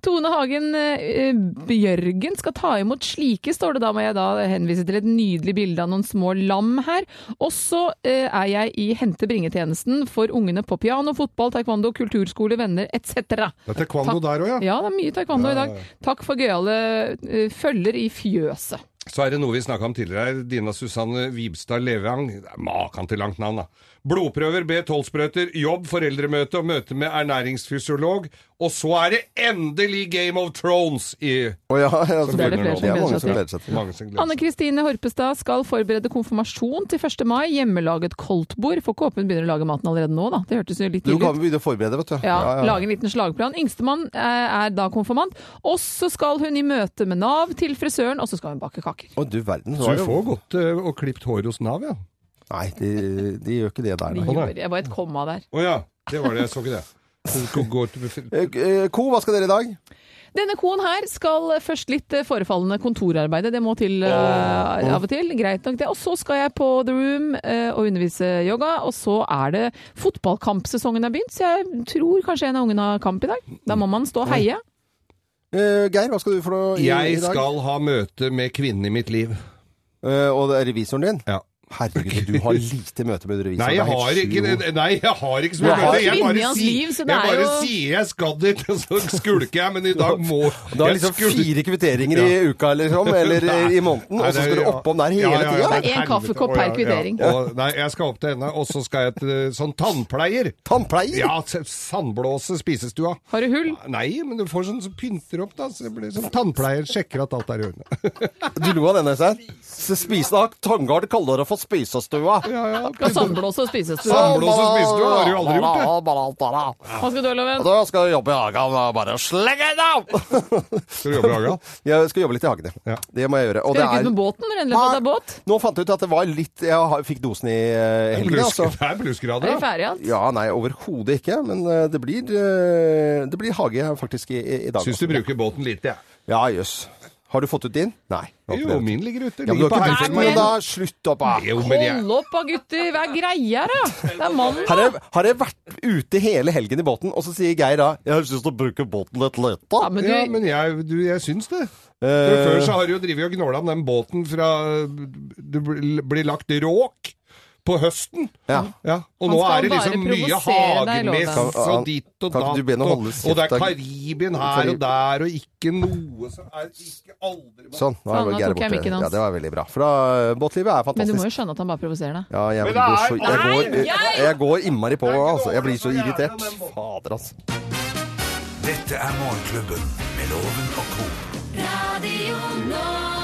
C: Tone Hagen eh, Bjørgen skal ta imot slike, står det. Da må jeg da henvise til et nydelig bilde av noen små lam her. Og så eh, er jeg i hente-bringe-tjenesten for ungene på piano, fotball, taekwondo, kulturskole, venner etc.
D: Det er taekwondo der òg, ja.
C: Ja, det er mye taekwondo i dag. Takk for gøyale eh, følger i fjøset.
D: Så er det noe vi snakka om tidligere her. Dina Susanne Vibstad Levang. Det er Makan til langt navn, da. Blodprøver, B12-sprøyter, jobb, foreldremøte og møte med ernæringsfysiolog. Og så er det endelig Game of Thrones i
B: Å ja, ja, så-
C: Det er det flere som gleder
B: mange
C: seg
B: som
C: til.
B: gleder seg til.
D: Mange som gleder
C: Anne
D: seg.
C: Kristine Horpestad skal forberede konfirmasjon til 1. mai. Hjemmelaget koldtbord. Får ikke håpe hun begynner å lage maten allerede nå, da. Det hørtes jo litt
B: Du
C: ille ut.
B: kan begynne å forberede, vet du.
C: Ja, Lage en liten slagplan. Yngstemann eh, er da konfirmant. Og så skal hun i møte med Nav til frisøren, og så skal hun bake kaker.
B: Å, du verden. så
D: Så
B: er
D: du
B: det-
D: får godt ø, og klipt hår hos Nav, ja.
B: Nei, de, de gjør ikke det der,
C: Vi
B: nei.
C: gjorde- Jeg var et komma der.
D: Å ja. Det var det. Jeg så ikke det. Så skal gå til-
B: Eh, eh, Ko, hva skal dere i dag?
C: Denne koen her skal først litt eh, forefallende kontorarbeid. Det må til eh, av og til. Greit nok det. Og så skal jeg på The Room eh, og undervise yoga. Og så er det fotballkampsesongen er begynt, så jeg tror kanskje en av ungene har kamp i dag. Da må man stå og heie.
B: Eh, Geir, hva skal du for noe i, i
D: Jeg
B: dag?
D: skal ha møte med kvinnen i mitt liv.
B: Eh, og det er revisoren din?
D: Ja.
B: Herregud, du har lite møte med revisoren.
D: Nei,
B: Det er
D: jeg
B: helt
D: har ikke
B: sjukt.
D: det. Nei, jeg har ikke så
B: Du
D: mye
B: har
D: møte. Jeg
C: kvinne i
D: bare,
C: hans
D: sier-
C: liv, så det
D: jeg
C: er
D: bare
C: jo-
D: sier jeg skal dit, og så skulker jeg. Men i dag må
B: Du har
D: jeg
B: liksom
D: skulker-
B: fire kvitteringer i uka eller sånn, eller i måneden, og
D: Nei,
B: så
D: det-
B: skal du
D: ja.
B: oppom der hele
D: Ja, ja, ja,
B: tida?
D: det er
C: En kaffekopp
D: helvete.
C: per
D: Å, ja,
C: kvittering.
D: ja. Og, nei, jeg skal opp til henne, og så skal jeg til eh, sånn tannpleier.
B: Tannpleier?
D: Ja, t- sandblåse spisestua.
C: Har du hull?
D: Nei, men du får sånn som pynter opp, da. Så det blir sånn tannpleier sjekker at alt er i orden.
B: Du lo av denne, Øystein. Så Spisen av Tangard kaller det for spisestua.
D: Ja, ja.
C: Og sandblåse og spisestue.
D: Sandblåse spisestua har du jo aldri gjort, det.
B: det.
C: Hva skal du ha, Loven?
B: Da skal jeg jobbe i hagen og bare slenge deg!
D: Skal du jobbe i hagen?
B: Jeg skal jobbe litt i hagen, ja.
D: Ja.
B: Det må jeg gjøre. Og
C: Skal
B: det
C: du ikke ut med
B: er
C: båten? Rennløp at det er båt?
B: Nå fant jeg ut at det var litt Jeg har- fikk dosen i eh, helgen, altså.
D: Blusk- Det er bluskgrader,
C: Er
D: ja.
C: vi ferdige alt?
B: Ja, nei, overhodet ikke. Men eh, det blir, eh, det blir hage faktisk i, i- i dag.
D: Syns
B: altså.
D: du bruker båten lite, jeg.
B: Ja, jøss. Har du fått ut din? Nei. jeg har ikke
D: Jo,
B: det.
D: min ligger ute.
B: Ja, men du
D: Ligger på
B: har ikke
D: Haugesund.
B: brukt den, da. Slutt opp, da.
D: Jo, men jeg,
C: Hold opp da, gutter! Hva er greia, da? Det er mannen.
B: Har jeg, har jeg vært ute hele helgen i båten, og så sier Geir da 'Jeg har lyst til å bruke båten litt lite'.
C: Ja, men du,
D: ja, men jeg, du, jeg syns det. For
B: Eh,
D: før så har du jo drevet og gnåla om den båten fra du bl- blir lagt råk på høsten.
B: Ja.
D: Og
C: Han
D: nå
C: skal
D: er det liksom
C: bare
D: mye
C: provosere deg, Loven.
D: hagemess
B: Kan-
D: og ditt og
B: kan
D: datt.
B: ikke du be henne
D: og-
B: holde
D: og det
B: kjeft, da?
D: er Karibien her og der, og ikke noe som er ikke aldri
B: Sånn, nå
C: Faen,
B: er
C: nå
B: Geir
C: tok jeg
B: borte.
C: mikken hans.
B: Ja, det var veldig bra. For da, eh, båtlivet er
C: men du
B: fantastisk.
C: må jo skjønne at han bare provoserer deg.
B: Ja, jeg,
D: Men det
B: går
D: er-
B: så, jeg,
D: Nei,
B: går, jeg,
C: jeg-
B: går innmari på, altså. Jeg blir så
D: overraskende
B: irritert.
D: jævlig om den båten.
B: Fader, altså.
A: Dette er Morgenklubben med Loven og co.
I: Radio Nord.